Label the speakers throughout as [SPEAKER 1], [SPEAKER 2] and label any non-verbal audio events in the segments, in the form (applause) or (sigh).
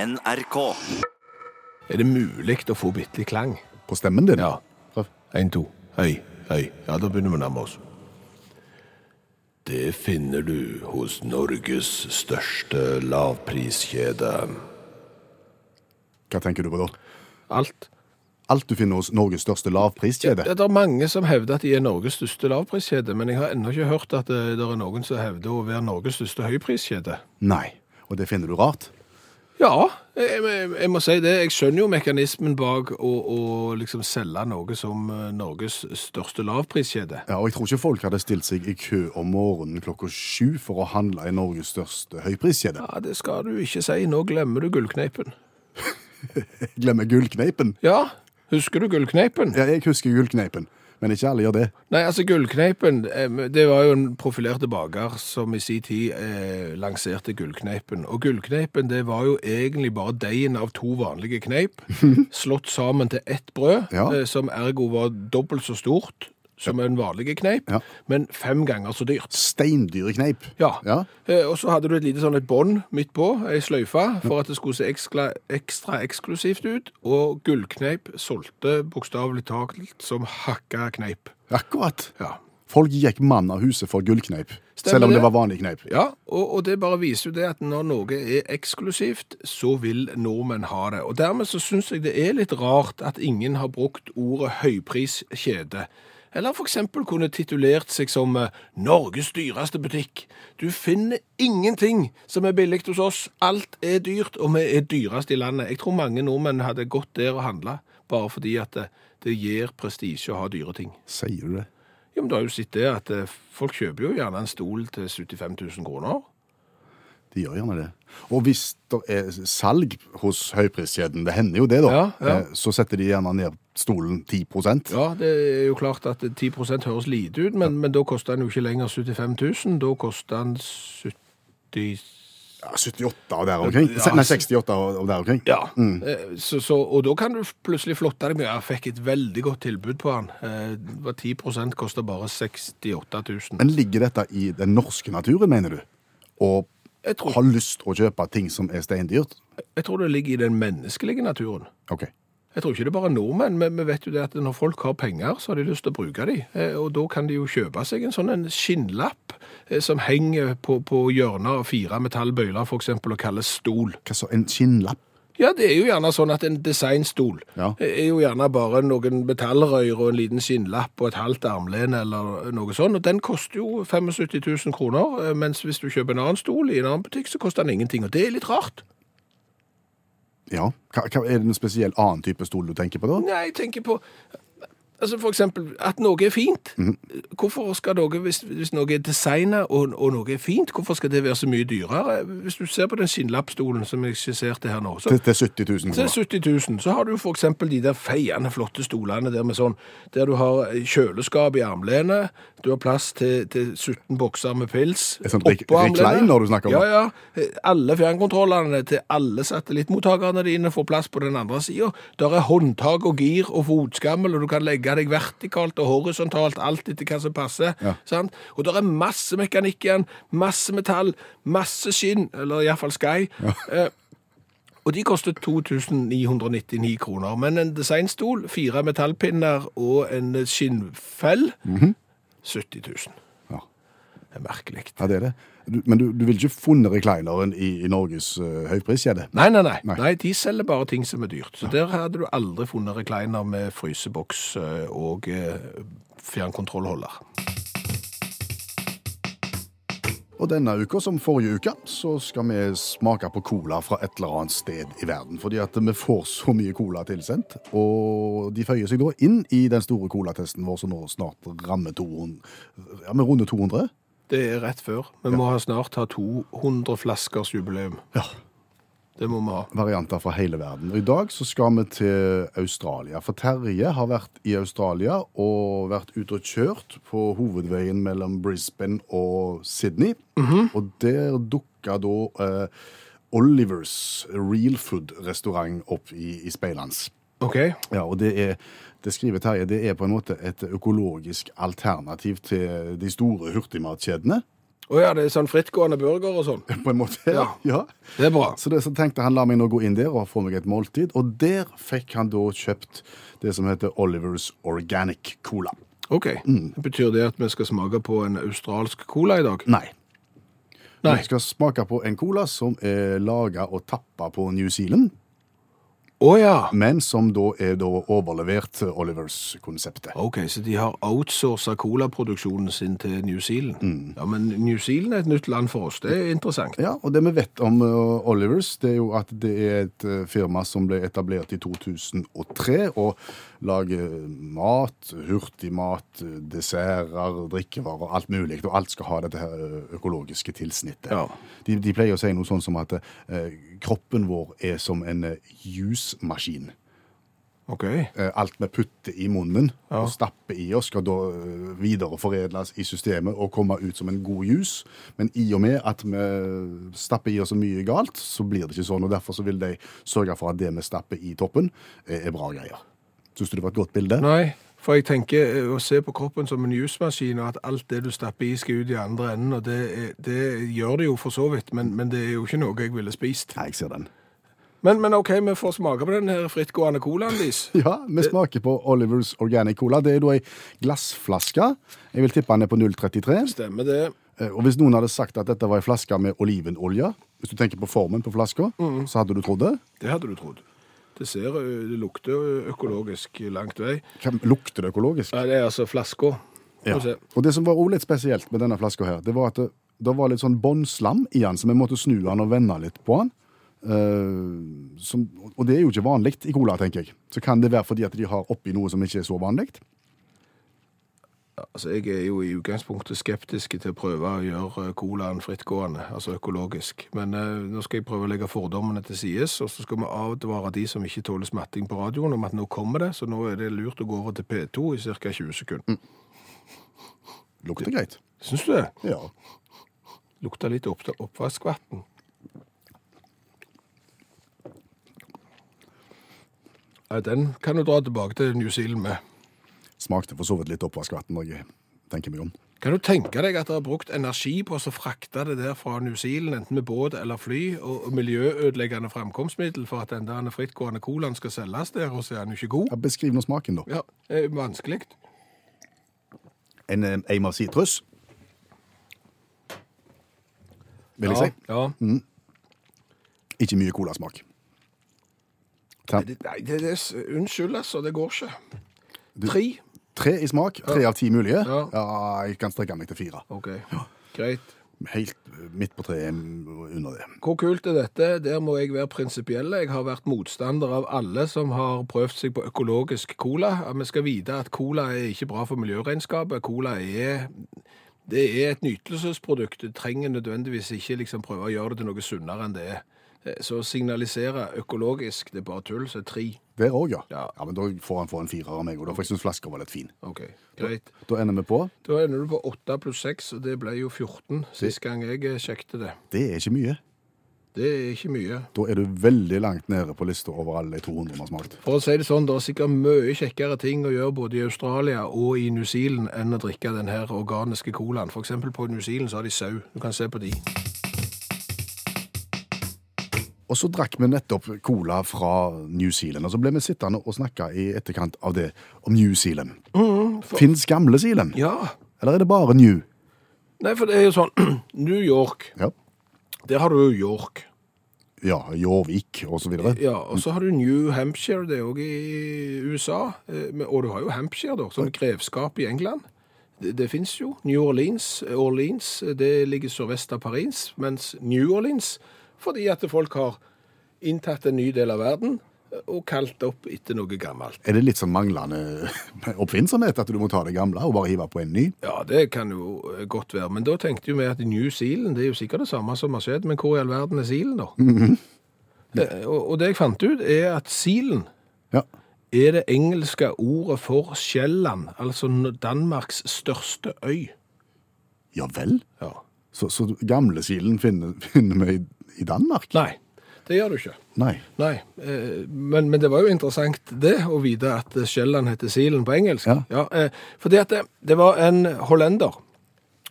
[SPEAKER 1] NRK.
[SPEAKER 2] Er det mulig å få bitte litt klang?
[SPEAKER 3] På stemmen din?
[SPEAKER 2] Ja.
[SPEAKER 3] Prøv.
[SPEAKER 2] Én, to. Hei, hei. Ja, da begynner vi å nærme oss. Det finner du hos Norges største lavpriskjede.
[SPEAKER 3] Hva tenker du på da?
[SPEAKER 2] Alt.
[SPEAKER 3] Alt du finner hos Norges største lavpriskjede?
[SPEAKER 2] Ja, det er mange som hevder at de er Norges største lavpriskjede, men jeg har ennå ikke hørt at eh, det er noen som hevder å være Norges største høypriskjede.
[SPEAKER 3] Nei. Og det finner du rart?
[SPEAKER 2] Ja, jeg, jeg, jeg må si det. Jeg skjønner jo mekanismen bak å, å liksom selge noe som eh, Norges største lavpriskjede.
[SPEAKER 3] Ja, og jeg tror ikke folk hadde stilt seg i kø om morgenen klokka sju for å handle i Norges største høypriskjede.
[SPEAKER 2] Ja, det skal du ikke si. Nå glemmer du gullkneipen.
[SPEAKER 3] Glemmer gullkneipen.
[SPEAKER 2] Ja, husker du gullkneipen?
[SPEAKER 3] Ja, jeg husker gullkneipen, men ikke alle gjør det.
[SPEAKER 2] Nei, altså Gullkneipen, eh, det var jo en profilerte baker som i sin tid eh, lanserte Gullkneipen. Og Gullkneipen det var jo egentlig bare deigen av to vanlige
[SPEAKER 3] (laughs)
[SPEAKER 2] kneip, slått sammen til ett brød,
[SPEAKER 3] Ja.
[SPEAKER 2] eh, som ergo var dobbelt så stort som en vanlig kneip,
[SPEAKER 3] Ja.
[SPEAKER 2] men fem ganger så dyrt.
[SPEAKER 3] Steindyre kneip.
[SPEAKER 2] Ja.
[SPEAKER 3] Ja.
[SPEAKER 2] Eh, og så hadde du et lite sånn et bånd midt på, ei sløyfe, for at det skulle se ekstra, ekstra eksklusivt ut. Og gullkneip solgte bokstavelig talt som hakka kneip.
[SPEAKER 3] Akkurat.
[SPEAKER 2] Ja.
[SPEAKER 3] Folk gikk mann av huset for gullkneip,
[SPEAKER 2] Stemmer
[SPEAKER 3] selv om det
[SPEAKER 2] det.
[SPEAKER 3] var vanlig kneip.
[SPEAKER 2] Ja, og, og det bare viser jo det at når noe er eksklusivt, så vil nordmenn ha det. Og dermed så syns jeg det er litt rart at ingen har brukt ordet høypriskjede. Eller f.eks. kunne titulert seg som eh, Norges dyreste butikk. Du finner ingenting som er billig hos oss. Alt er dyrt, og vi er dyrest i landet. Jeg tror mange nordmenn hadde gått der og handla, bare fordi at det, det gir prestisje å ha dyre ting.
[SPEAKER 3] Sier du det?
[SPEAKER 2] Jo, men Du har jo sett det at eh, folk kjøper jo gjerne en stol til 75 000 kroner.
[SPEAKER 3] De gjør gjerne det. Og hvis det er salg hos høypriskjeden, det hender jo det, da,
[SPEAKER 2] Ja, ja.
[SPEAKER 3] eh, så setter de gjerne ned stolen 10 ja.
[SPEAKER 2] Ja, det er jo klart at 10 høres lite ut, men, men da koster den jo ikke lenger 75 000. Da koster den 70
[SPEAKER 3] 78 og der omkring. Se- Nei, 68 og og der omkring.
[SPEAKER 2] Ja. Eh, Så, så, og da kan du plutselig flotte deg med jeg fikk et veldig godt tilbud på den. Eh, det var 10 koster bare 68 000.
[SPEAKER 3] Men ligger dette i den norske naturen, mener du? Og
[SPEAKER 2] Jeg tror-
[SPEAKER 3] har lyst å kjøpe ting som er steindyrt?
[SPEAKER 2] Jeg tror det ligger i den menneskelige naturen.
[SPEAKER 3] Ok.
[SPEAKER 2] Jeg tror ikke det er bare nordmenn, men vi vet jo det at når folk har penger, så har de lyst til å bruke de. Eh, Og da kan de jo kjøpe seg en sånn en skinnlapp eh, som henger på, på hjørnet av fire metallbøyler, for eksempel, og kalles stol.
[SPEAKER 3] Hva så, en skinnlapp?
[SPEAKER 2] Ja, det er jo gjerne sånn at en designstol
[SPEAKER 3] Ja.
[SPEAKER 2] er jo gjerne bare noen metallrøyr og en liten skinnlapp og et halvt armlen eller noe sånt, og den koster jo 75 000 kroner, eh, mens hvis du kjøper en annen stol i en annen butikk, så koster den ingenting, og det er litt rart.
[SPEAKER 3] Ja. Hva, hva, er det en spesiell annen type stol du tenker på da?
[SPEAKER 2] Nei, jeg tenker på Altså For eksempel at noe er fint. Hvorfor skal noe, hvis, hvis noe er designet og, og noe er fint, hvorfor skal det være så mye dyrere? Hvis du ser på den skinnlappstolen som jeg skisserte her nå, så
[SPEAKER 3] Til, til 70 000
[SPEAKER 2] til
[SPEAKER 3] kroner.
[SPEAKER 2] 70 000, så har du for eksempel de der feiende flotte stolene der med sånn, der du har kjøleskap i armlenet, du har plass til, til 17 bokser med pils.
[SPEAKER 3] Et sånt rek- recliner du snakker om.
[SPEAKER 2] Ja, ja. Eh, Alle fjernkontrollene til alle satellittmottakerne dine får plass på den andre siden. Der er håndtak og gir og fotskammel, og du kan legge deg vertikalt og horisontalt, alt etter hva som passer. Sant? Og der er masse mekanikk igjen, masse metall, masse skinn, eller i hvert fall sky. Eh, og de koster 2999 kroner. Men en designstol, fire metallpinner og en skinnfell
[SPEAKER 3] Mhm.
[SPEAKER 2] 70 000.
[SPEAKER 3] Ja.
[SPEAKER 2] Det er merkelig.
[SPEAKER 3] Ja, det er det. Du, men du, du ville ikke funnet reclineren i, i Norges uh, høypriskjede?
[SPEAKER 2] Nei, nei, nei,
[SPEAKER 3] Nei.
[SPEAKER 2] nei. De selger bare ting som er dyrt. Så der hadde du aldri funnet recliner med fryseboks eh, og eh, fjernkontrollholder.
[SPEAKER 3] Og denne uka, som forrige uke, så skal vi smake på cola fra et eller annet sted i verden. Fordi at vi får så mye cola tilsendt, og de føyer seg da inn i den store colatesten vår som nå snart rammer 200. Ja, vi runder 200.
[SPEAKER 2] Det er rett før. Vi må ha snart ha 200 flaskers jubileum.
[SPEAKER 3] Ja.
[SPEAKER 2] Det må vi ha.
[SPEAKER 3] Varianter fra hele verden. Og i dag så skal vi til Australia. For Terje har vært i Australia og vært ute og kjørt på hovedveien mellom Brisbane og Sydney. Og der dukka da eh, Olivers Real Food-restaurant opp i, i speilet hans.
[SPEAKER 2] OK?
[SPEAKER 3] Ja, og det er, det skriver Terje, det er på en måte et økologisk alternativ til de store hurtigmatkjedene. (laughs)
[SPEAKER 2] Å ja, det er sånn frittgående burger og sånn.
[SPEAKER 3] på en måte.
[SPEAKER 2] Ja.
[SPEAKER 3] ja.
[SPEAKER 2] Det er bra.
[SPEAKER 3] Så, det, så tenkte han la meg nå gå inn der og få meg et måltid. Og der fikk han da kjøpt det som heter Olivers Organic Cola.
[SPEAKER 2] OK. Betyr det at vi skal smake på en australsk cola i dag?
[SPEAKER 3] Nei.
[SPEAKER 2] Mm. Nei.
[SPEAKER 3] Vi skal smake på en cola som er laga og tappa på New Zealand,
[SPEAKER 2] Å ja.
[SPEAKER 3] men som da er da overlevert eh, Olivers-konseptet.
[SPEAKER 2] OK, så de har outsourca colaproduksjonen sin til New Zealand. Ja, Men New Zealand er et nytt land for oss. Det er interessant.
[SPEAKER 3] Ja, og det vi vet om eh, Olivers, det er jo at det er et eh, firma som ble etablert i 2003, og lager eh, mat, hurtigmat, eh, desserter, drikkevarer, alt mulig, og alt skal ha dette her eh, økologiske tilsnittet.
[SPEAKER 2] Ja.
[SPEAKER 3] De, de pleier å si noe sånn som at eh, kroppen vår er som en eh, jusmaskin.
[SPEAKER 2] OK.
[SPEAKER 3] Eh, alt vi putter i munnen
[SPEAKER 2] Ja.
[SPEAKER 3] og stapper i oss, skal da eh, videreforedles i systemet og komme ut som en god jus. Men i og med at vi stapper i oss så mye galt, så blir det ikke sånn. og Derfor så vil de sørge for at det vi stapper i toppen, eh, er bra greier. Syns du det var et godt bilde?
[SPEAKER 2] Nei, for jeg tenker eh, å se på kroppen som en jusmaskin, og at alt det du stapper i, skal ut i andre enden. og Det, er- det gjør det jo for så vidt, men, men det er jo ikke noe jeg ville spist.
[SPEAKER 3] Nei, jeg ser den. (laughs)
[SPEAKER 2] Men, men OK, vi får smake på den her frittgående colaen deres.
[SPEAKER 3] Ja, vi smaker på Olivers Organic Cola. Det er da ei glassflaske. Jeg vil tippe den er på 0,33.
[SPEAKER 2] Stemmer det.
[SPEAKER 3] Eh, Og hvis noen hadde sagt at dette var ei flaske med olivenolje, hvis du tenker på formen på flaska, så hadde du trodd det.
[SPEAKER 2] Det hadde du trodd. Det ser ø, Det lukter ø, økologisk langt vei.
[SPEAKER 3] Hvem- Lukter det økologisk?
[SPEAKER 2] Ja, det er altså flaska.
[SPEAKER 3] Ja.
[SPEAKER 2] Få se.
[SPEAKER 3] Og det som var også litt spesielt med denne flaska her, det var at det, det var litt sånn båndslam i den, så vi måtte snu den og vende litt på den. Eh, som, og det er jo ikke vanlig i cola, tenker jeg. Så kan det være fordi at de har oppi noe som ikke er så vanlig.
[SPEAKER 2] Altså, jeg er jo i utgangspunktet skeptisk til å prøve å gjøre eh, colaen frittgående, altså økologisk. Men eh, nå skal jeg prøve å legge fordommene til sides, og så skal vi advare de som ikke tåler smatting på radioen om at nå kommer det, så nå er det lurt å gå over til P2 i ca. 20 sekunder.
[SPEAKER 3] Lukter greit.
[SPEAKER 2] Syns du det?
[SPEAKER 3] Ja.
[SPEAKER 2] Lukter litt opp oppvaskvann. Nei, den kan du dra tilbake til New Zealand med.
[SPEAKER 3] Smakte for så vidt litt oppvaskvann når jeg tenker meg om.
[SPEAKER 2] Kan du tenke deg at dere har brukt energi på å så frakte det der fra New Zealand, enten med båt eller fly, og og miljøødeleggende framkomstmiddel for at den der frittgående colaen skal selges der, og så er den jo ikke god?
[SPEAKER 3] Ja, beskriv nå smaken, da.
[SPEAKER 2] Ja, eh, vanskelig.
[SPEAKER 3] En eh, eim av sitrus. Vil jeg
[SPEAKER 2] Ja,
[SPEAKER 3] si. Mm.
[SPEAKER 2] ja.
[SPEAKER 3] Ikke mye colasmak. Tre,
[SPEAKER 2] Det- Nei, det, det, er s- unnskyld, altså. Det går ikke. Tre.
[SPEAKER 3] tre i smak. Tre av ti mulige. Ja.
[SPEAKER 2] Ja.
[SPEAKER 3] jeg kan strekke meg til fire.
[SPEAKER 2] OK, greit.
[SPEAKER 3] Helt midt på treet under det.
[SPEAKER 2] Hvor kult er dette? Der må jeg være prinsipiell. Jeg har vært motstander av alle som har prøvd seg på økologisk cola. At Vi skal vite at cola er ikke bra for miljøregnskapet. Cola er det er et nytelsesprodukt. Du trenger nødvendigvis ikke liksom prøve å gjøre det til noe sunnere enn det er. Eh, Så å signalisere økologisk, det er bare tull, så tre.
[SPEAKER 3] Der òg, ja.
[SPEAKER 2] Ja.
[SPEAKER 3] ja. Men da får han få en firer av meg, og da, for jeg syns flaska var litt fin.
[SPEAKER 2] OK, greit.
[SPEAKER 3] Da ender vi på
[SPEAKER 2] Da ender du på åtte pluss seks, og det ble jo 14 sist gang jeg eh, sjekket det.
[SPEAKER 3] Det er ikke mye.
[SPEAKER 2] Det er ikke mye.
[SPEAKER 3] Da er du veldig langt nede på lista over alle de 200 vi har smakt.
[SPEAKER 2] For å si det sånn, det er sikkert mye kjekkere ting å gjøre både i Australia og i New Zealand enn å drikke den her organiske colaen. For eksempel på New Zealand så har de sau. Du kan se på de.
[SPEAKER 3] Og så drakk vi nettopp cola fra New Zealand, og så ble vi sittende og snakke i etterkant av det om New Zealand. Fins gamle Zealand,
[SPEAKER 2] Ja.
[SPEAKER 3] eller er det bare New?
[SPEAKER 2] Nei, for det er jo sånn (clears throat) New York,
[SPEAKER 3] Ja,
[SPEAKER 2] der har du jo York.
[SPEAKER 3] ja Jorvik og så videre.
[SPEAKER 2] Ja, og så har du New Hampshire, det er òg i USA. Eh, men- Og du har jo Hampshire, da, som grevskap i England. Det, det fins jo. New Orleans, eh, Orleans det ligger sørvest av Paris, mens New Orleans fordi at folk har inntatt en ny del av verden eh, og kalt opp etter noe gammelt.
[SPEAKER 3] Er det litt sånn manglende (laughs) oppfinnsomhet at du må ta det gamle og bare hive på en ny?
[SPEAKER 2] Ja, det kan jo eh, godt være. Men da tenkte jo vi at New Zealand, det er jo sikkert det samme som har skjedd, men hvor i all verden er Zealand, da? Eh, og, og det jeg fant ut, er at Zealand
[SPEAKER 3] Ja.
[SPEAKER 2] er det engelske ordet for Sjælland, altså N- Danmarks største øy.
[SPEAKER 3] ja vel?
[SPEAKER 2] Ja.
[SPEAKER 3] Så, så gamle Zealand finner, finner vi i, i Danmark?
[SPEAKER 2] Nei, det gjør du ikke.
[SPEAKER 3] Nei.
[SPEAKER 2] Nei, eh, men, men det var jo interessant det, å vite at Sjælland heter Silen på engelsk.
[SPEAKER 3] Ja.
[SPEAKER 2] eh, fordi at det, det var en hollender,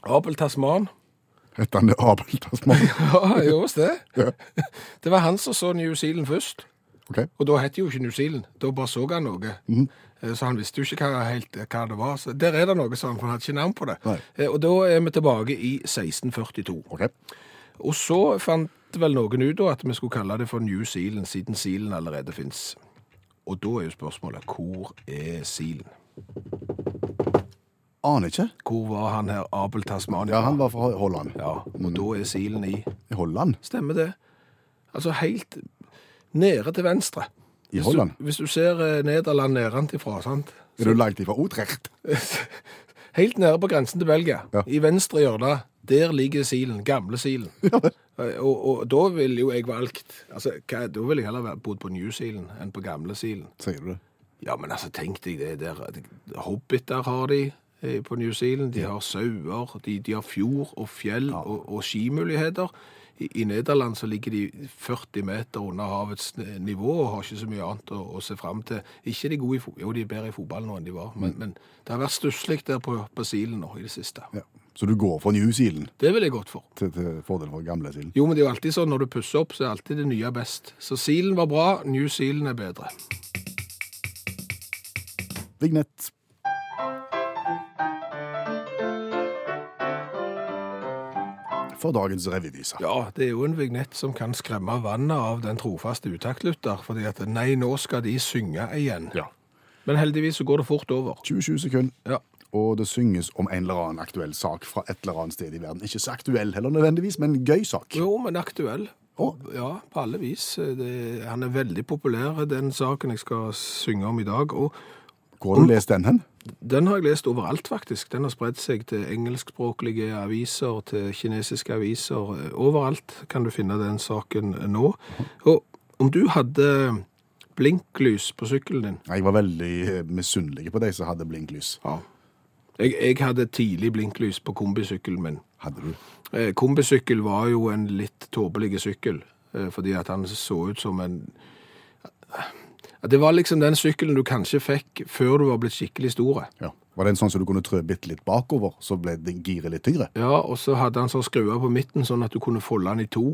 [SPEAKER 2] Abel Tasman,
[SPEAKER 3] Het han det Abel Tasman?
[SPEAKER 2] (laughs) Ja, jo, det.
[SPEAKER 3] Ja.
[SPEAKER 2] Det var han som så New Zealand først.
[SPEAKER 3] Ok.
[SPEAKER 2] Og da het det jo ikke New Zealand, da bare så han noe. Eh, Så han visste jo ikke hva, helt eh, hva det var. Så der er det noe, sa han, for han hadde ikke navn på det.
[SPEAKER 3] Nei.
[SPEAKER 2] Eh, Og da er vi tilbake i 1642.
[SPEAKER 3] ok.
[SPEAKER 2] Og så fant vel noen ut da at vi skulle kalle det for New Zealand, siden silen allerede fins. Og da er jo spørsmålet hvor er silen?
[SPEAKER 3] Aner ikke.
[SPEAKER 2] Hvor var han her, Abel Tasmania?
[SPEAKER 3] Ja, han var fra Holland.
[SPEAKER 2] Ja, og da er silen i
[SPEAKER 3] I Holland?
[SPEAKER 2] Stemmer det. Altså helt nede til venstre.
[SPEAKER 3] I
[SPEAKER 2] Hvis
[SPEAKER 3] Holland?
[SPEAKER 2] Du, hvis du ser eh, Nederland nedenfra, sant?
[SPEAKER 3] Er du langt ifra Utrecht?
[SPEAKER 2] (laughs) Helt nede på grensen til Belgia,
[SPEAKER 3] Ja.
[SPEAKER 2] i venstre hjørne, der ligger silen, gamle silen. Eh, Og, og da ville jo jeg valgt altså, hva, Da ville jeg heller vært- bodd på New Zealand enn på gamle silen.
[SPEAKER 3] Sier du det?
[SPEAKER 2] Ja, men altså, tenk deg det der. Hobbiter har de eh, på New Zealand. De har sauer, de, de har fjord og fjell og, og skimuligheter. I, I Nederland så ligger de 40 meter under havets n- nivå og har ikke så mye annet å, å se fram til. Ikke de gode i fotball, jo de er bedre i fotball nå enn de var, men, men det har vært stusslig der på, på Silen nå i det siste.
[SPEAKER 3] Ja. Så du går fra New Zealand
[SPEAKER 2] Det vil jeg gått for.
[SPEAKER 3] til, til fordel for gamle Zealand?
[SPEAKER 2] Jo, men det er jo alltid sånn når du pusser opp, så er alltid det nye best. Så Silen var bra, New Zealand er bedre.
[SPEAKER 3] Vignett. For dagens revyvise.
[SPEAKER 2] Ja, det er jo en vignett som kan skremme vannet av den trofaste utaktlytter, fordi at nei, nå skal de synge igjen.
[SPEAKER 3] Ja.
[SPEAKER 2] Men heldigvis så går det fort over.
[SPEAKER 3] 20-20 sekunder.
[SPEAKER 2] Ja.
[SPEAKER 3] Og det synges om en eller annen aktuell sak fra et eller annet sted i verden. Ikke så aktuell heller nødvendigvis, men en gøy sak.
[SPEAKER 2] Jo, men aktuell.
[SPEAKER 3] Å.
[SPEAKER 2] Ja, på alle vis. Det, han er veldig populær, den saken jeg skal synge om i dag. Og
[SPEAKER 3] Hvor har du lest den hen?
[SPEAKER 2] den har jeg lest overalt, faktisk. Den har spredt seg til engelskspråklige aviser, til kinesiske aviser. Overalt kan du finne den saken nå. Og om du hadde blinklys på sykkelen din,
[SPEAKER 3] Jeg var veldig eh, misunnelig på de som hadde blinklys.
[SPEAKER 2] Ja. Jeg, jeg hadde tidlig blinklys på kombisykkelen min.
[SPEAKER 3] Hadde du?
[SPEAKER 2] Eh, Kombisykkel var jo en litt tåpelig sykkel, eh, fordi at han så ut som en At Det var liksom den sykkelen du kanskje fikk før du var blitt skikkelig store.
[SPEAKER 3] Ja. Var det en sånn som du kunne trø bitte litt bakover, så ble det giret litt tyngre?
[SPEAKER 2] Ja, og så hadde han sånn skruer på midten, sånn at du kunne folde den i to.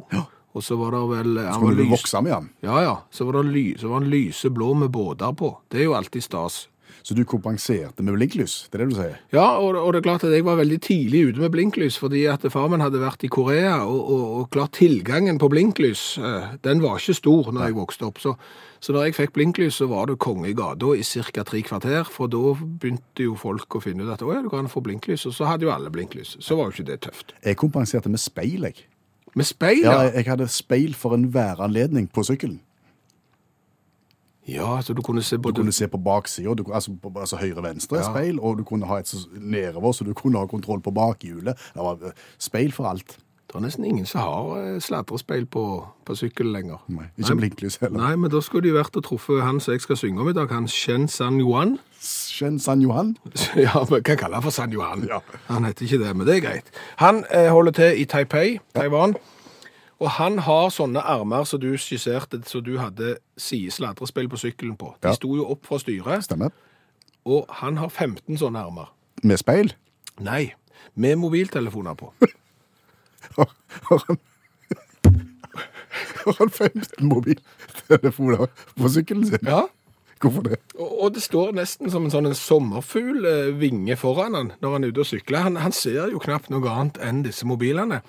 [SPEAKER 2] Og så var det vel han var
[SPEAKER 3] Kunne du
[SPEAKER 2] lys-
[SPEAKER 3] vokse med den?
[SPEAKER 2] Ja, ja. Så var, det ly, så var han lyseblå med båter på. Det er jo alltid stas.
[SPEAKER 3] Så du kompenserte med blinklys? Det er det du sier?
[SPEAKER 2] Ja, og, og det er klart at jeg var veldig tidlig ute med blinklys, fordi at far min hadde vært i Korea, og, og, og klart tilgangen på blinklys, eh, den var ikke stor når jeg vokste opp. Så, så da jeg fikk blinklys, så var det konge i gata i ca. tre kvarter, for da begynte jo folk å finne ut at å ja, du kan få blinklys, og så hadde jo alle blinklys. Så var jo ikke det tøft.
[SPEAKER 3] Jeg kompenserte med speil, jeg.
[SPEAKER 2] Med speil,
[SPEAKER 3] Ja,
[SPEAKER 2] ja.
[SPEAKER 3] jeg, jeg hadde speil for enhver anledning på sykkelen.
[SPEAKER 2] Ja, så du kunne se
[SPEAKER 3] Du
[SPEAKER 2] både
[SPEAKER 3] kunne se på baksida, du kunne- altså, på- altså høyre-venstre speil, og du kunne ha et så- nedover, så du kunne ha kontroll på bakhjulet. Det var eh, speil for alt.
[SPEAKER 2] Det er nesten ingen som har eh, sladrespeil på, på sykkel lenger.
[SPEAKER 3] Nei, ikke blinklys heller.
[SPEAKER 2] Nei, men da skulle de vært og truffet han som jeg skal synge om i dag, han Shen San Yuan.
[SPEAKER 3] Shen San Johan.
[SPEAKER 2] (laughs) Ja, vi kan kalle han for San Johan.
[SPEAKER 3] Ja.
[SPEAKER 2] Han heter ikke det, men det er greit. Han eh, holder til i Taipei, Taiwan. Og han har sånne armer som du skisserte, som du hadde side sladrespill på sykkelen på. De
[SPEAKER 3] Ja.
[SPEAKER 2] sto jo opp fra styret,
[SPEAKER 3] Stemmer.
[SPEAKER 2] og han har 15 sånne armer.
[SPEAKER 3] Med speil.
[SPEAKER 2] Nei, med mobiltelefoner på.
[SPEAKER 3] Har har han Har han 15 mobiltelefoner på sykkelen sin?
[SPEAKER 2] Ja,
[SPEAKER 3] Hvorfor det?
[SPEAKER 2] og, og det står nesten som en sånn en sommerfuglvinge foran han når han er ute og sykler. Han, han ser jo knapt noe annet enn disse mobilene.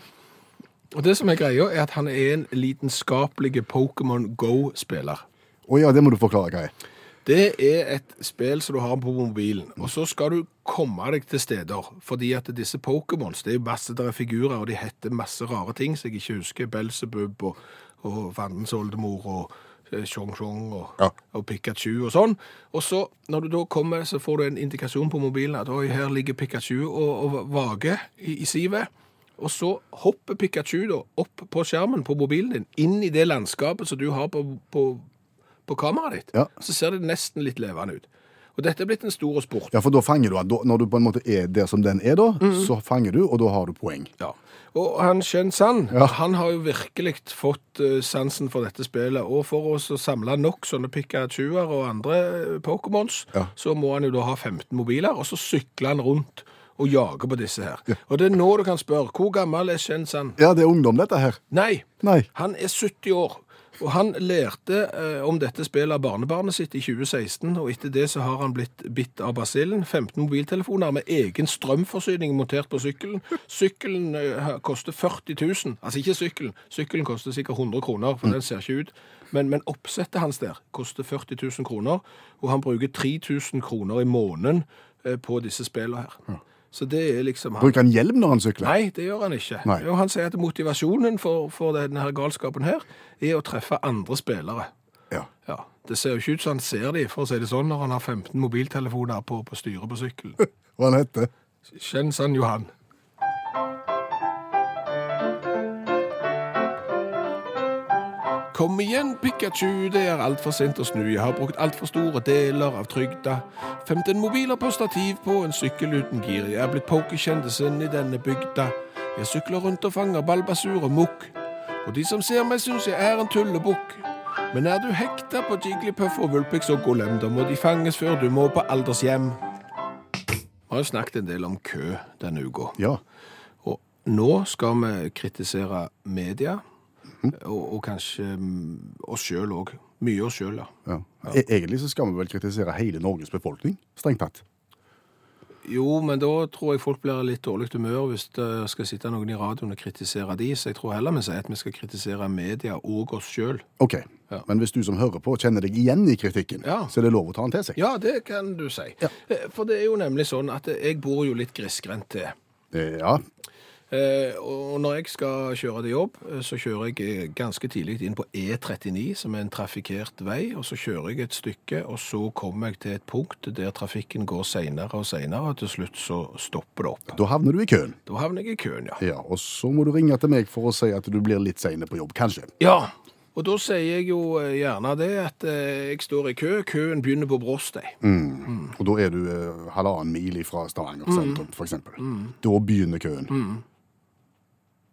[SPEAKER 2] Og det som er greia, er at han er en lidenskapelig Pokémon Go-spiller.
[SPEAKER 3] Å ja, det må du forklare hva er.
[SPEAKER 2] Det er et spill som du har på mobilen, og så skal du komme deg til steder. Fordi at disse Pokémons, det er jo masse der er figurer, og de heter masse rare ting som jeg ikke husker. Belzebub og, og Fandens oldemor og eh, Chong Chong og,
[SPEAKER 3] Ja.
[SPEAKER 2] og Pikachu og sånn. Og så, når du da kommer, så får du en indikasjon på mobilen at oi, her ligger Pikachu og, og vager i, i sivet. Og så hopper Pikachu da opp på skjermen på mobilen din, inn i det landskapet som du har på, på, på kameraet ditt
[SPEAKER 3] Ja.
[SPEAKER 2] så ser det nesten litt levende ut. Og dette er blitt en stor sport.
[SPEAKER 3] Ja, for da fanger du han. Da, når du på en måte er der som den er da, så fanger du, og da har du poeng.
[SPEAKER 2] Ja. Og han Shen San
[SPEAKER 3] Ja.
[SPEAKER 2] han har jo virkelig fått eh, sansen for dette spillet. Og for oss å samle nok sånne Pikachuer og andre eh, Pokémons,
[SPEAKER 3] Ja.
[SPEAKER 2] så må han jo da ha 15 mobiler, og så sykler han rundt og jager på disse her. Og det er nå du kan spørre hvor gammel er Shenzhen?
[SPEAKER 3] Ja, det er ungdom, dette her.
[SPEAKER 2] Nei,
[SPEAKER 3] Nei.
[SPEAKER 2] han er 70 år. Og han lærte eh, om dette spillet av barnebarnet sitt i 2016, og etter det så har han blitt bitt av basillen. 15 mobiltelefoner med egen strømforsyning montert på sykkelen. Sykkelen eh, koster 40 000. Altså ikke sykkelen. Sykkelen koster sikkert 100 kroner, for den ser ikke ut. Men, men oppsettet hans der koster 40 000 kroner, og han bruker 3000 kroner i måneden eh, på disse spillene her. Så det er liksom han.
[SPEAKER 3] Bruker han hjelm når han sykler?
[SPEAKER 2] Nei, det gjør han ikke.
[SPEAKER 3] Nei.
[SPEAKER 2] Jo, han sier at motivasjonen for, for denne her galskapen her er å treffe andre spillere.
[SPEAKER 3] Ja.
[SPEAKER 2] Ja, Det ser jo ikke ut som han ser de, for å si det sånn, når han har 15 mobiltelefoner på, på styret på sykkelen.
[SPEAKER 3] Hva han heter
[SPEAKER 2] Kjennes han Johan? Kom igjen, Pikachu, det er altfor sent å snu. Jeg har brukt altfor store deler av trygda. 15 mobiler på stativ på en sykkel uten gir. Jeg er blitt pokerkjendisen i denne bygda. Jeg sykler rundt og fanger balbasur og mukk. Og de som ser meg, syns jeg er en tullebukk. Men er du hekta på Jigglypuff og Vulpix og Golem, da må de fanges før du må på aldershjem. Vi har jo snakket en del om kø denne uka.
[SPEAKER 3] Ja.
[SPEAKER 2] Og nå skal vi kritisere media, og, og kanskje mm, oss sjøl òg. Mye oss sjøl, ja.
[SPEAKER 3] ja. E Egentlig så skal vi vel kritisere hele Norges befolkning, strengt tatt.
[SPEAKER 2] Jo, men da tror jeg folk blir i litt dårlig humør hvis det skal sitte noen i radioen og kritisere de, så jeg tror heller vi sier at vi skal kritisere media og oss sjøl.
[SPEAKER 3] Ok,
[SPEAKER 2] Ja.
[SPEAKER 3] men hvis du som hører på kjenner deg igjen i kritikken,
[SPEAKER 2] Ja.
[SPEAKER 3] så er det lov å ta den til seg.
[SPEAKER 2] Ja, det kan du si. Eh, For det er jo nemlig sånn at jeg bor jo litt grisgrendt til.
[SPEAKER 3] Eh, ja.
[SPEAKER 2] Eh, Og når jeg skal kjøre til jobb, eh, så kjører jeg eh, ganske tidlig inn på E39, som er en trafikkert vei, og så kjører jeg et stykke, og så kommer jeg til et punkt der trafikken går seinere og seinere, og til slutt så stopper det opp.
[SPEAKER 3] Da havner du i køen.
[SPEAKER 2] Da havner jeg i køen, ja.
[SPEAKER 3] Ja, og så må du ringe til meg for å si at du blir litt seine på jobb, kanskje.
[SPEAKER 2] Ja, og da sier jeg jo eh, gjerne det at eh, jeg står i kø, køen begynner på Bråstei. Mm.
[SPEAKER 3] Og da er du eh, halvannen mil fra Stavanger sentrum, for eksempel.
[SPEAKER 2] Mm.
[SPEAKER 3] Da begynner køen.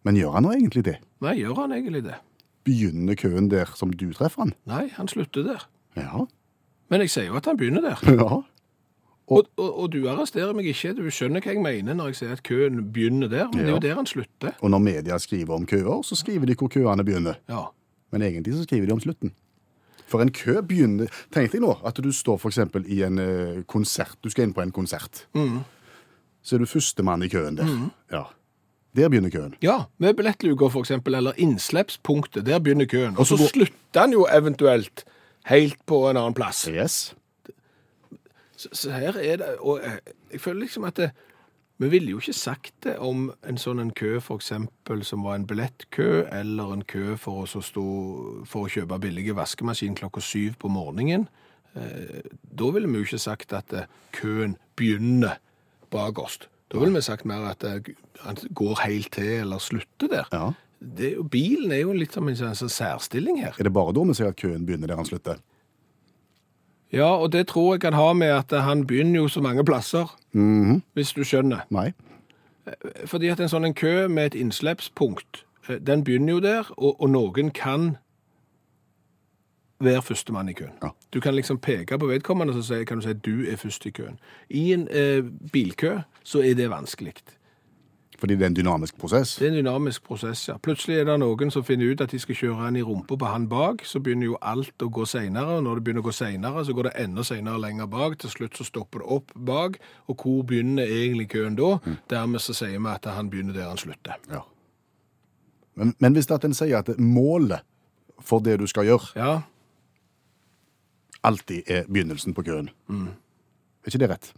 [SPEAKER 3] Men gjør han nå egentlig det?
[SPEAKER 2] Nei, gjør han egentlig det?
[SPEAKER 3] Begynner køen der som du treffer han?
[SPEAKER 2] Nei, han slutter der.
[SPEAKER 3] Ja. (laughs)
[SPEAKER 2] Men jeg sier jo at han begynner der.
[SPEAKER 3] ja.
[SPEAKER 2] Og, og, og du arresterer meg ikke, du skjønner hva jeg mener når jeg sier at køen begynner der, men det er
[SPEAKER 3] Ja.
[SPEAKER 2] jo der han slutter.
[SPEAKER 3] Og når media skriver om køer, så skriver de hvor køene begynner.
[SPEAKER 2] Ja.
[SPEAKER 3] Men egentlig så skriver de om slutten. For en kø begynner Tenk deg nå at du står for eksempel i en eh, konsert. Du skal inn på en konsert. Så er du førstemann i køen der. Ja. Der begynner køen.
[SPEAKER 2] Ja, med billettluker for eksempel, eller innslippspunktet, der begynner køen. Og så
[SPEAKER 3] går-
[SPEAKER 2] slutter han jo eventuelt helt på en annen plass.
[SPEAKER 3] Yes.
[SPEAKER 2] Så, så her er det, og jeg, jeg føler liksom at det, vi ville jo ikke sagt det om en sånn en kø for eksempel som var en billettkø, eller en kø for, oss å stå, for å kjøpe billige vaskemaskin klokka syv på morgenen. Eh, da ville vi jo ikke sagt at eh, køen begynner bak oss. Da ville vi sagt mer at eh, han går helt til eller slutter der.
[SPEAKER 3] Ja.
[SPEAKER 2] Det er jo, bilen er jo litt som en sånn sånn særstilling her.
[SPEAKER 3] Er det bare da vi ser at køen begynner der han slutter?
[SPEAKER 2] Ja, og det tror jeg kan ha med at eh, han begynner jo så mange plasser, hvis du skjønner.
[SPEAKER 3] Mm-hmm. Nei.
[SPEAKER 2] Fordi at en sånn en kø med et innslippspunkt, eh, den begynner jo der, og, og noen kan være førstemann i køen.
[SPEAKER 3] Ja.
[SPEAKER 2] Du kan liksom peke på vedkommende og si, kan du si du er først i køen. I en eh, bilkø så er det vanskelig.
[SPEAKER 3] Fordi det er en dynamisk prosess.
[SPEAKER 2] Det er en dynamisk prosess, ja. Plutselig er det noen som finner ut at de skal kjøre han i rumpa på han bak, så begynner jo alt å gå seinere, og når det begynner å gå seinere, så går det enda seinere lenger bak, til slutt så stopper det opp bak, og hvor begynner egentlig køen da? Dermed så sier vi at han begynner der han slutter.
[SPEAKER 3] Ja. Men, men hvis det at en sier at målet for det du skal gjøre,
[SPEAKER 2] Ja,
[SPEAKER 3] alltid er begynnelsen på køen Er ikke det rett?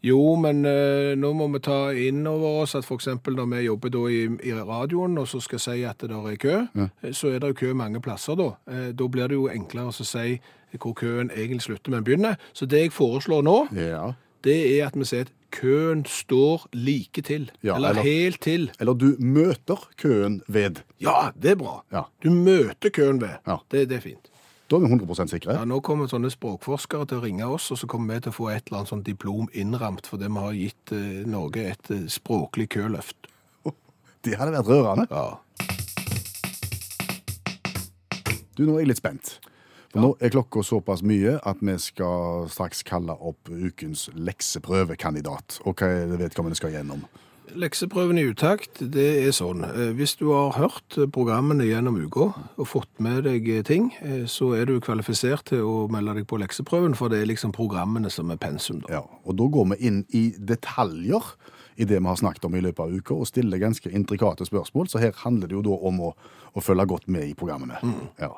[SPEAKER 2] Jo, men eh, nå må vi ta inn over oss at f.eks. når vi jobber da i, i radioen og så skal si at det der er kø, eh, så er det jo kø mange plasser da. Eh, da blir det jo enklere å si hvor køen egentlig slutter, men begynner. Så det jeg foreslår nå,
[SPEAKER 3] Ja.
[SPEAKER 2] det er at vi sier at køen står like til.
[SPEAKER 3] Ja,
[SPEAKER 2] eller,
[SPEAKER 3] eller-
[SPEAKER 2] helt til.
[SPEAKER 3] Eller du møter køen ved.
[SPEAKER 2] Ja, det er bra.
[SPEAKER 3] Ja.
[SPEAKER 2] Du møter køen ved.
[SPEAKER 3] Ja.
[SPEAKER 2] Det, det er fint.
[SPEAKER 3] Da er vi 100 sikre.
[SPEAKER 2] Ja, nå kommer sånne språkforskere til å ringe oss, og så kommer vi til å få et eller annet sånt diplom innramt fordi vi har gitt eh, Norge et eh, språklig køløft.
[SPEAKER 3] Det hadde vært rørende.
[SPEAKER 2] Ja.
[SPEAKER 3] Du, nå er jeg litt spent. For Nå er klokka såpass mye at vi skal straks kalle opp ukens lekseprøvekandidat. Og hva er det vedkommende skal gjennom?
[SPEAKER 2] Lekseprøven i utakt, det er sånn. eh, Hvis du har hørt programmene gjennom uka og fått med deg ting, eh, så er du kvalifisert til å melde deg på lekseprøven, for det er liksom programmene som er pensum, da.
[SPEAKER 3] Ja, og da går vi inn i detaljer i det vi har snakket om i løpet av uka, og stiller ganske intrikate spørsmål, så her handler det jo da om å, å følge godt med i programmene. Ja.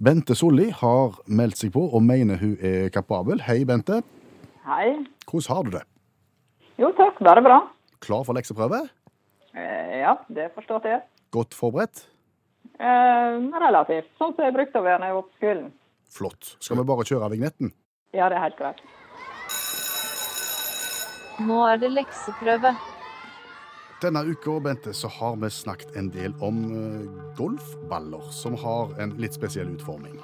[SPEAKER 3] Bente Solli har meldt seg på og mener hun er kapabel. Hei, Bente.
[SPEAKER 1] Hei.
[SPEAKER 3] Hvordan har du det?
[SPEAKER 1] Jo takk, bare bra.
[SPEAKER 3] Klar for lekseprøve?
[SPEAKER 1] Eh, ja, det forstår jeg.
[SPEAKER 3] Godt forberedt?
[SPEAKER 1] Eh, relativt. Sånn som jeg brukte å være når jeg var på skolen.
[SPEAKER 3] Flott. Skal vi bare kjøre vignetten?
[SPEAKER 1] Ja, det er helt greit.
[SPEAKER 4] Nå er det lekseprøve.
[SPEAKER 3] Denne uka Bente, så har vi snakket en del om eh, golfballer, som har en litt spesiell utforming.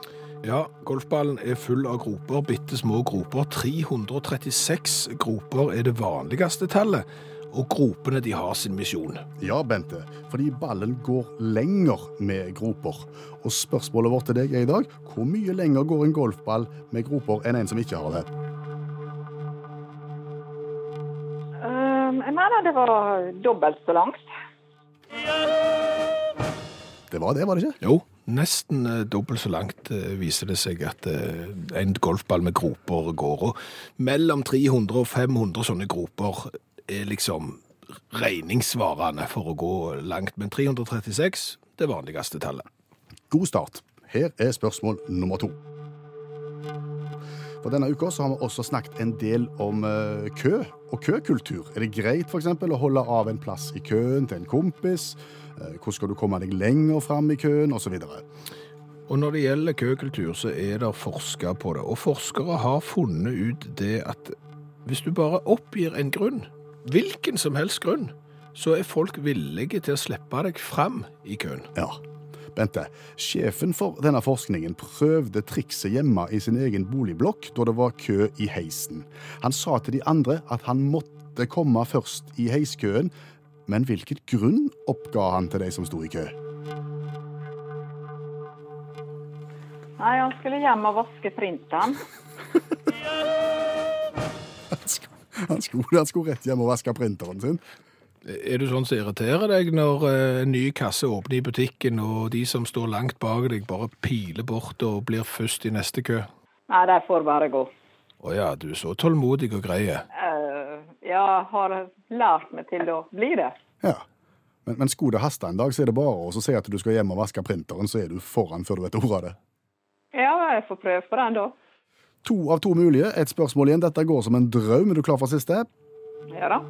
[SPEAKER 2] Ja, golfballen er full av groper, bitte små groper. 336 groper er det vanligste tallet, og gropene de har sin misjon.
[SPEAKER 3] Ja, Bente, fordi ballen går lenger med groper. Og spørsmålet vårt til deg er i dag hvor mye lenger går en golfball med groper enn en som ikke har det?
[SPEAKER 1] Eh, jeg mener det var dobbelt så langt.
[SPEAKER 3] Det var det, var det ikke?
[SPEAKER 2] Jo, nesten eh, dobbelt så langt eh, viser det seg at eh, en golfball med groper går. Og mellom 300 og 500 sånne groper er liksom regningssvarende for å gå langt. Men 336, det vanligste tallet.
[SPEAKER 3] God start. Her er spørsmål nummer to. For denne uka så har vi også snakket en del om eh, kø og køkultur. Er det greit for eksempel, å holde av en plass i køen til en kompis? Eh, Hvordan skal du komme deg lenger fram i køen, osv.?
[SPEAKER 2] Og når det gjelder køkultur, så er det forska på det. Og forskere har funnet ut det at hvis du bare oppgir en grunn, hvilken som helst grunn, så er folk villige til å slippe deg fram i køen.
[SPEAKER 3] Ja. Bente, sjefen for denne forskningen prøvde trikset hjemme i sin egen boligblokk da det var kø i heisen. Han sa til de andre at han måtte komme først i heiskøen, men hvilken grunn oppga han til de som sto i kø?
[SPEAKER 1] Nei, han skulle hjem og vaske printeren.
[SPEAKER 3] Han skulle, han skulle, han skulle rett hjem og vaske printeren sin.
[SPEAKER 2] Er du sånn som irriterer deg når eh, en ny kasse åpner i butikken, og de som står langt bak deg, bare piler bort og blir først i neste kø?
[SPEAKER 1] Nei, de får bare gå.
[SPEAKER 2] Å ja, du er så tålmodig og greie.
[SPEAKER 1] Eh, jeg har lært meg til å bli det.
[SPEAKER 3] Ja. Men, men skulle det haste en dag, så er det bare å si at du skal hjem og vaske printeren, så er du foran før du vet ordet av det.
[SPEAKER 1] Ja, jeg får prøve på den da.
[SPEAKER 3] To av to mulige. Et spørsmål igjen. Dette går som en drøm. Er du klar for siste?
[SPEAKER 1] Ja da.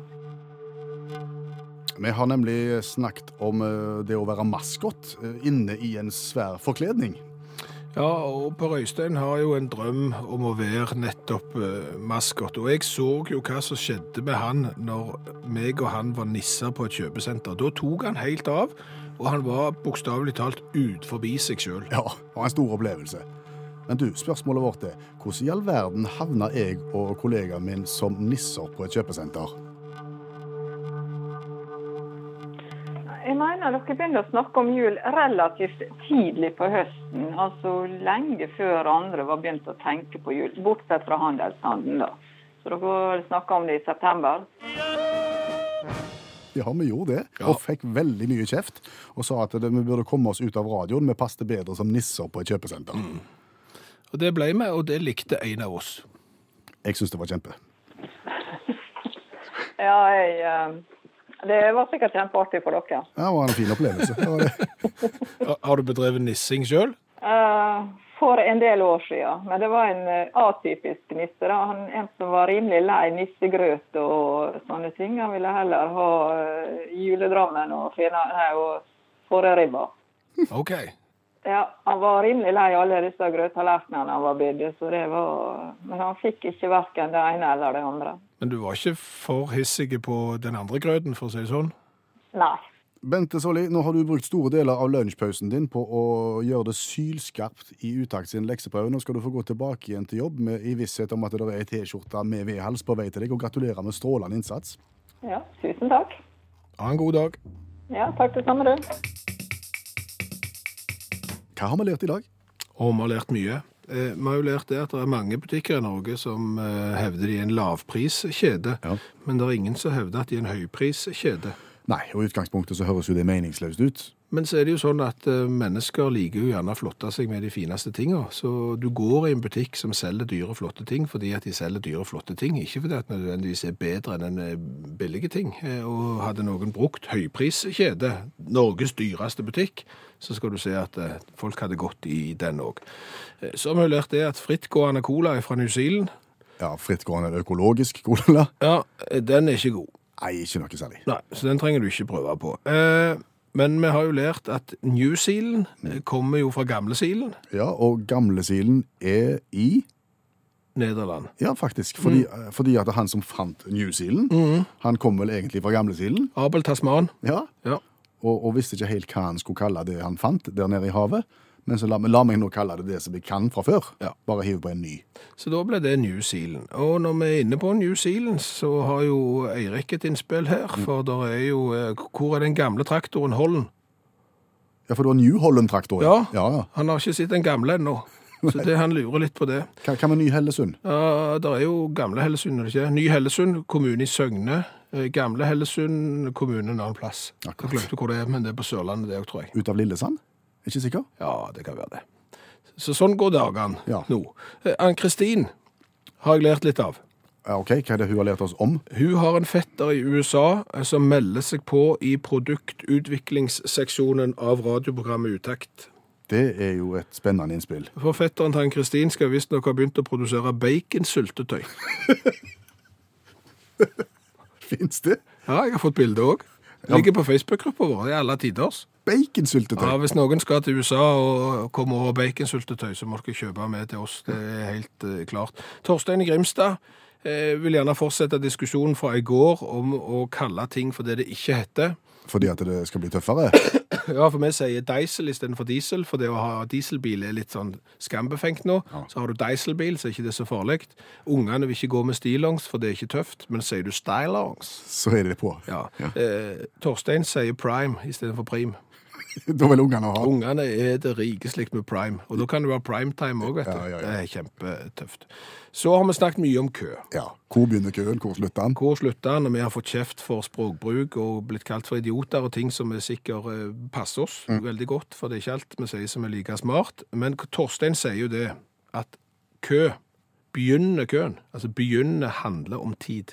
[SPEAKER 3] Vi har nemlig snakket om eh, det å være maskot eh, inne i en svær forkledning.
[SPEAKER 2] Ja, og Per Øystein har jo en drøm om å være nettopp eh, maskot, og jeg så jo hva som skjedde med han når meg og han var nisser på et kjøpesenter. Da tok han helt av, og han var bokstavelig talt ut forbi seg sjøl.
[SPEAKER 3] Ja, det var en stor opplevelse. Men du, spørsmålet vårt er hvordan i all verden havna jeg og kollegaen min som nisser på et kjøpesenter?
[SPEAKER 1] Jeg mener dere begynner å snakke om jul relativt tidlig på høsten. Altså lenge før andre var begynt å tenke på jul, bortsett fra handelshandelen, da. Så dere snakka om det i september.
[SPEAKER 3] Ja, vi gjorde det,
[SPEAKER 2] Ja.
[SPEAKER 3] og fikk veldig mye kjeft. Og sa at det, vi burde komme oss ut av radioen, vi passet bedre som nisser på et kjøpesenter.
[SPEAKER 2] Mm. Og det ble vi, og det likte en av oss.
[SPEAKER 3] Jeg syns det var kjempe.
[SPEAKER 1] Ja, jeg, eh, det var sikkert kjempeartig for dere.
[SPEAKER 3] Ja, Det var en fin opplevelse. Det
[SPEAKER 2] (laughs)
[SPEAKER 3] var det.
[SPEAKER 2] Har- Har du bedrevet nissing sjøl?
[SPEAKER 1] Eh, For en del år siden. Men det var en eh, atypisk nisse. da. Han, en som var rimelig lei nissegrøt og sånne ting. Han ville heller ha eh, juledrammen og, fina- nei, og fåreribba.
[SPEAKER 2] OK.
[SPEAKER 1] Ja, han var rimelig lei alle disse grøttallerkenene han var bydde, så det var Men han fikk ikke verken det ene eller det andre.
[SPEAKER 2] Men du var ikke for hissig på den andre grøten, for å si det sånn?
[SPEAKER 1] Nei.
[SPEAKER 3] Bente Solli, nå har du brukt store deler av lunsjpausen din på å gjøre det sylskarpt i Utakt sin lekseprøve. Nå skal du få gå tilbake igjen til jobb med, i visshet om at det er ei T-skjorte med V-hals på vei til deg, og gratulerer med strålende innsats.
[SPEAKER 1] Ja, tusen takk.
[SPEAKER 2] Ha en god dag.
[SPEAKER 1] Ja, takk det samme, du.
[SPEAKER 3] Hva har vi lært i dag?
[SPEAKER 2] Og vi har lært mye. Eh, Vi har jo lært det at det er mange butikker i Norge som eh, hevder de er en lavpriskjede,
[SPEAKER 3] Ja.
[SPEAKER 2] men det er ingen som hevder at de er en høypriskjede.
[SPEAKER 3] Nei, og i utgangspunktet så høres jo det meningsløst ut.
[SPEAKER 2] Men så er det jo sånn at eh, mennesker liker jo gjerne å flotte seg med de fineste tingene. Så du går i en butikk som selger dyre, flotte ting fordi at de selger dyre, flotte ting. Ikke fordi at nødvendigvis er bedre enn en eh, billige ting. Eh, Og hadde noen brukt høypriskjede, Norges dyreste butikk, så skal du se at eh, folk hadde gått i den òg. Eh, Så har vi lært det at frittgående cola fra New Zealand,
[SPEAKER 3] Ja, frittgående økologisk cola.
[SPEAKER 2] ja, eh, den er ikke god.
[SPEAKER 3] Nei, ikke noe særlig.
[SPEAKER 2] Nei, så den trenger du ikke prøve på. Eh, men vi har jo lært at New Zealand eh, kommer jo fra gamle Zealand,
[SPEAKER 3] Ja, og gamlesilen er i
[SPEAKER 2] Nederland.
[SPEAKER 3] Ja, faktisk. Fordi,
[SPEAKER 2] Mm.
[SPEAKER 3] eh, fordi at han som fant New Zealand, han kom vel egentlig fra gamlesilen.
[SPEAKER 2] Abel Tasman.
[SPEAKER 3] Ja,
[SPEAKER 2] Ja.
[SPEAKER 3] og, og visste ikke helt hva han skulle kalle det han fant der nede i havet. Men så la, la meg nå kalle det det som vi kan fra før.
[SPEAKER 2] Ja.
[SPEAKER 3] Bare hive på en ny.
[SPEAKER 2] Så da ble det New Zealand. Og når vi er inne på New Zealand, så har jo Eirik et innspill her,
[SPEAKER 3] Mm.
[SPEAKER 2] for der er jo eh, Hvor er den gamle traktoren Holden?
[SPEAKER 3] Ja, for det var New Holland-traktor.
[SPEAKER 2] Ja.
[SPEAKER 3] ja, ja.
[SPEAKER 2] Han har ikke sett den gamle ennå.
[SPEAKER 3] (laughs)
[SPEAKER 2] Så det, han lurer litt på det.
[SPEAKER 3] Hva, hva med Ny Hellesund?
[SPEAKER 2] Ja, det er jo Gamle Hellesund, er det ikke? Ny Hellesund, kommune i Søgne. Eh, Gamle Hellesund, kommune en annen plass.
[SPEAKER 3] Akkurat.
[SPEAKER 2] Jeg glemte hvor det er, men det er på Sørlandet, det òg, tror jeg.
[SPEAKER 3] Ut av Lillesand? Ikke sikker?
[SPEAKER 2] Ja, det kan være det. Så sånn går dagene
[SPEAKER 3] Ja.
[SPEAKER 2] nå. Eh, Ann-Kristin har jeg lært litt av.
[SPEAKER 3] Ja, ok, Hva er det hun har lært oss om?
[SPEAKER 2] Hun har en fetter i USA eh, som melder seg på i produktutviklingsseksjonen av radioprogrammet Utakt.
[SPEAKER 3] Det er jo et spennende innspill. (laughs)
[SPEAKER 2] For fetteren til Ann-Kristin skal visstnok ha begynt å produsere baconsyltetøy.
[SPEAKER 3] Fins det?
[SPEAKER 2] Ja, jeg har fått bilde òg. Ligger på Facebook-gruppa vår. Det er alle tiders. Ja,
[SPEAKER 3] Baconsyltetøy?
[SPEAKER 2] Hvis noen skal til USA og kommer over baconsyltetøy, så må dere kjøpe med til oss. Det er helt eh, klart. Torstein i Grimstad eh, vil gjerne fortsette diskusjonen fra i går om å kalle ting for det det ikke heter.
[SPEAKER 3] Fordi at det skal bli tøffere?
[SPEAKER 2] Ja, for vi sier diesel istedenfor diesel, for det å ha dieselbil er litt sånn skambefengt nå. Så har du dieselbil, så er ikke det så farlig. Ungene vil ikke gå med stillongs, for det er ikke tøft. Men sier du stylongs,
[SPEAKER 3] Så er det på.
[SPEAKER 2] ja. Eh, Torstein sier prime istedenfor prim.
[SPEAKER 3] (laughs) Da vil ungene ha
[SPEAKER 2] Ungene er det rike slikt med prime, og da kan det være primetime òg, vet du.
[SPEAKER 3] Ja, ja, ja.
[SPEAKER 2] Det er kjempetøft. Så har vi snakket mye om kø.
[SPEAKER 3] Ja. Hvor begynner køen, hvor slutter den?
[SPEAKER 2] Hvor slutter den? Og vi har fått kjeft for språkbruk og blitt kalt for idioter og ting som er sikkert eh, passer oss veldig godt, for det er ikke alt vi sier som er like smart. Men Torstein sier jo det, at kø begynner køen. Altså begynner handler om tid.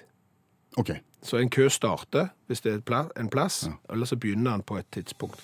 [SPEAKER 3] OK.
[SPEAKER 2] Så en kø starter hvis det er et pla- en plass, eller så begynner den på et tidspunkt.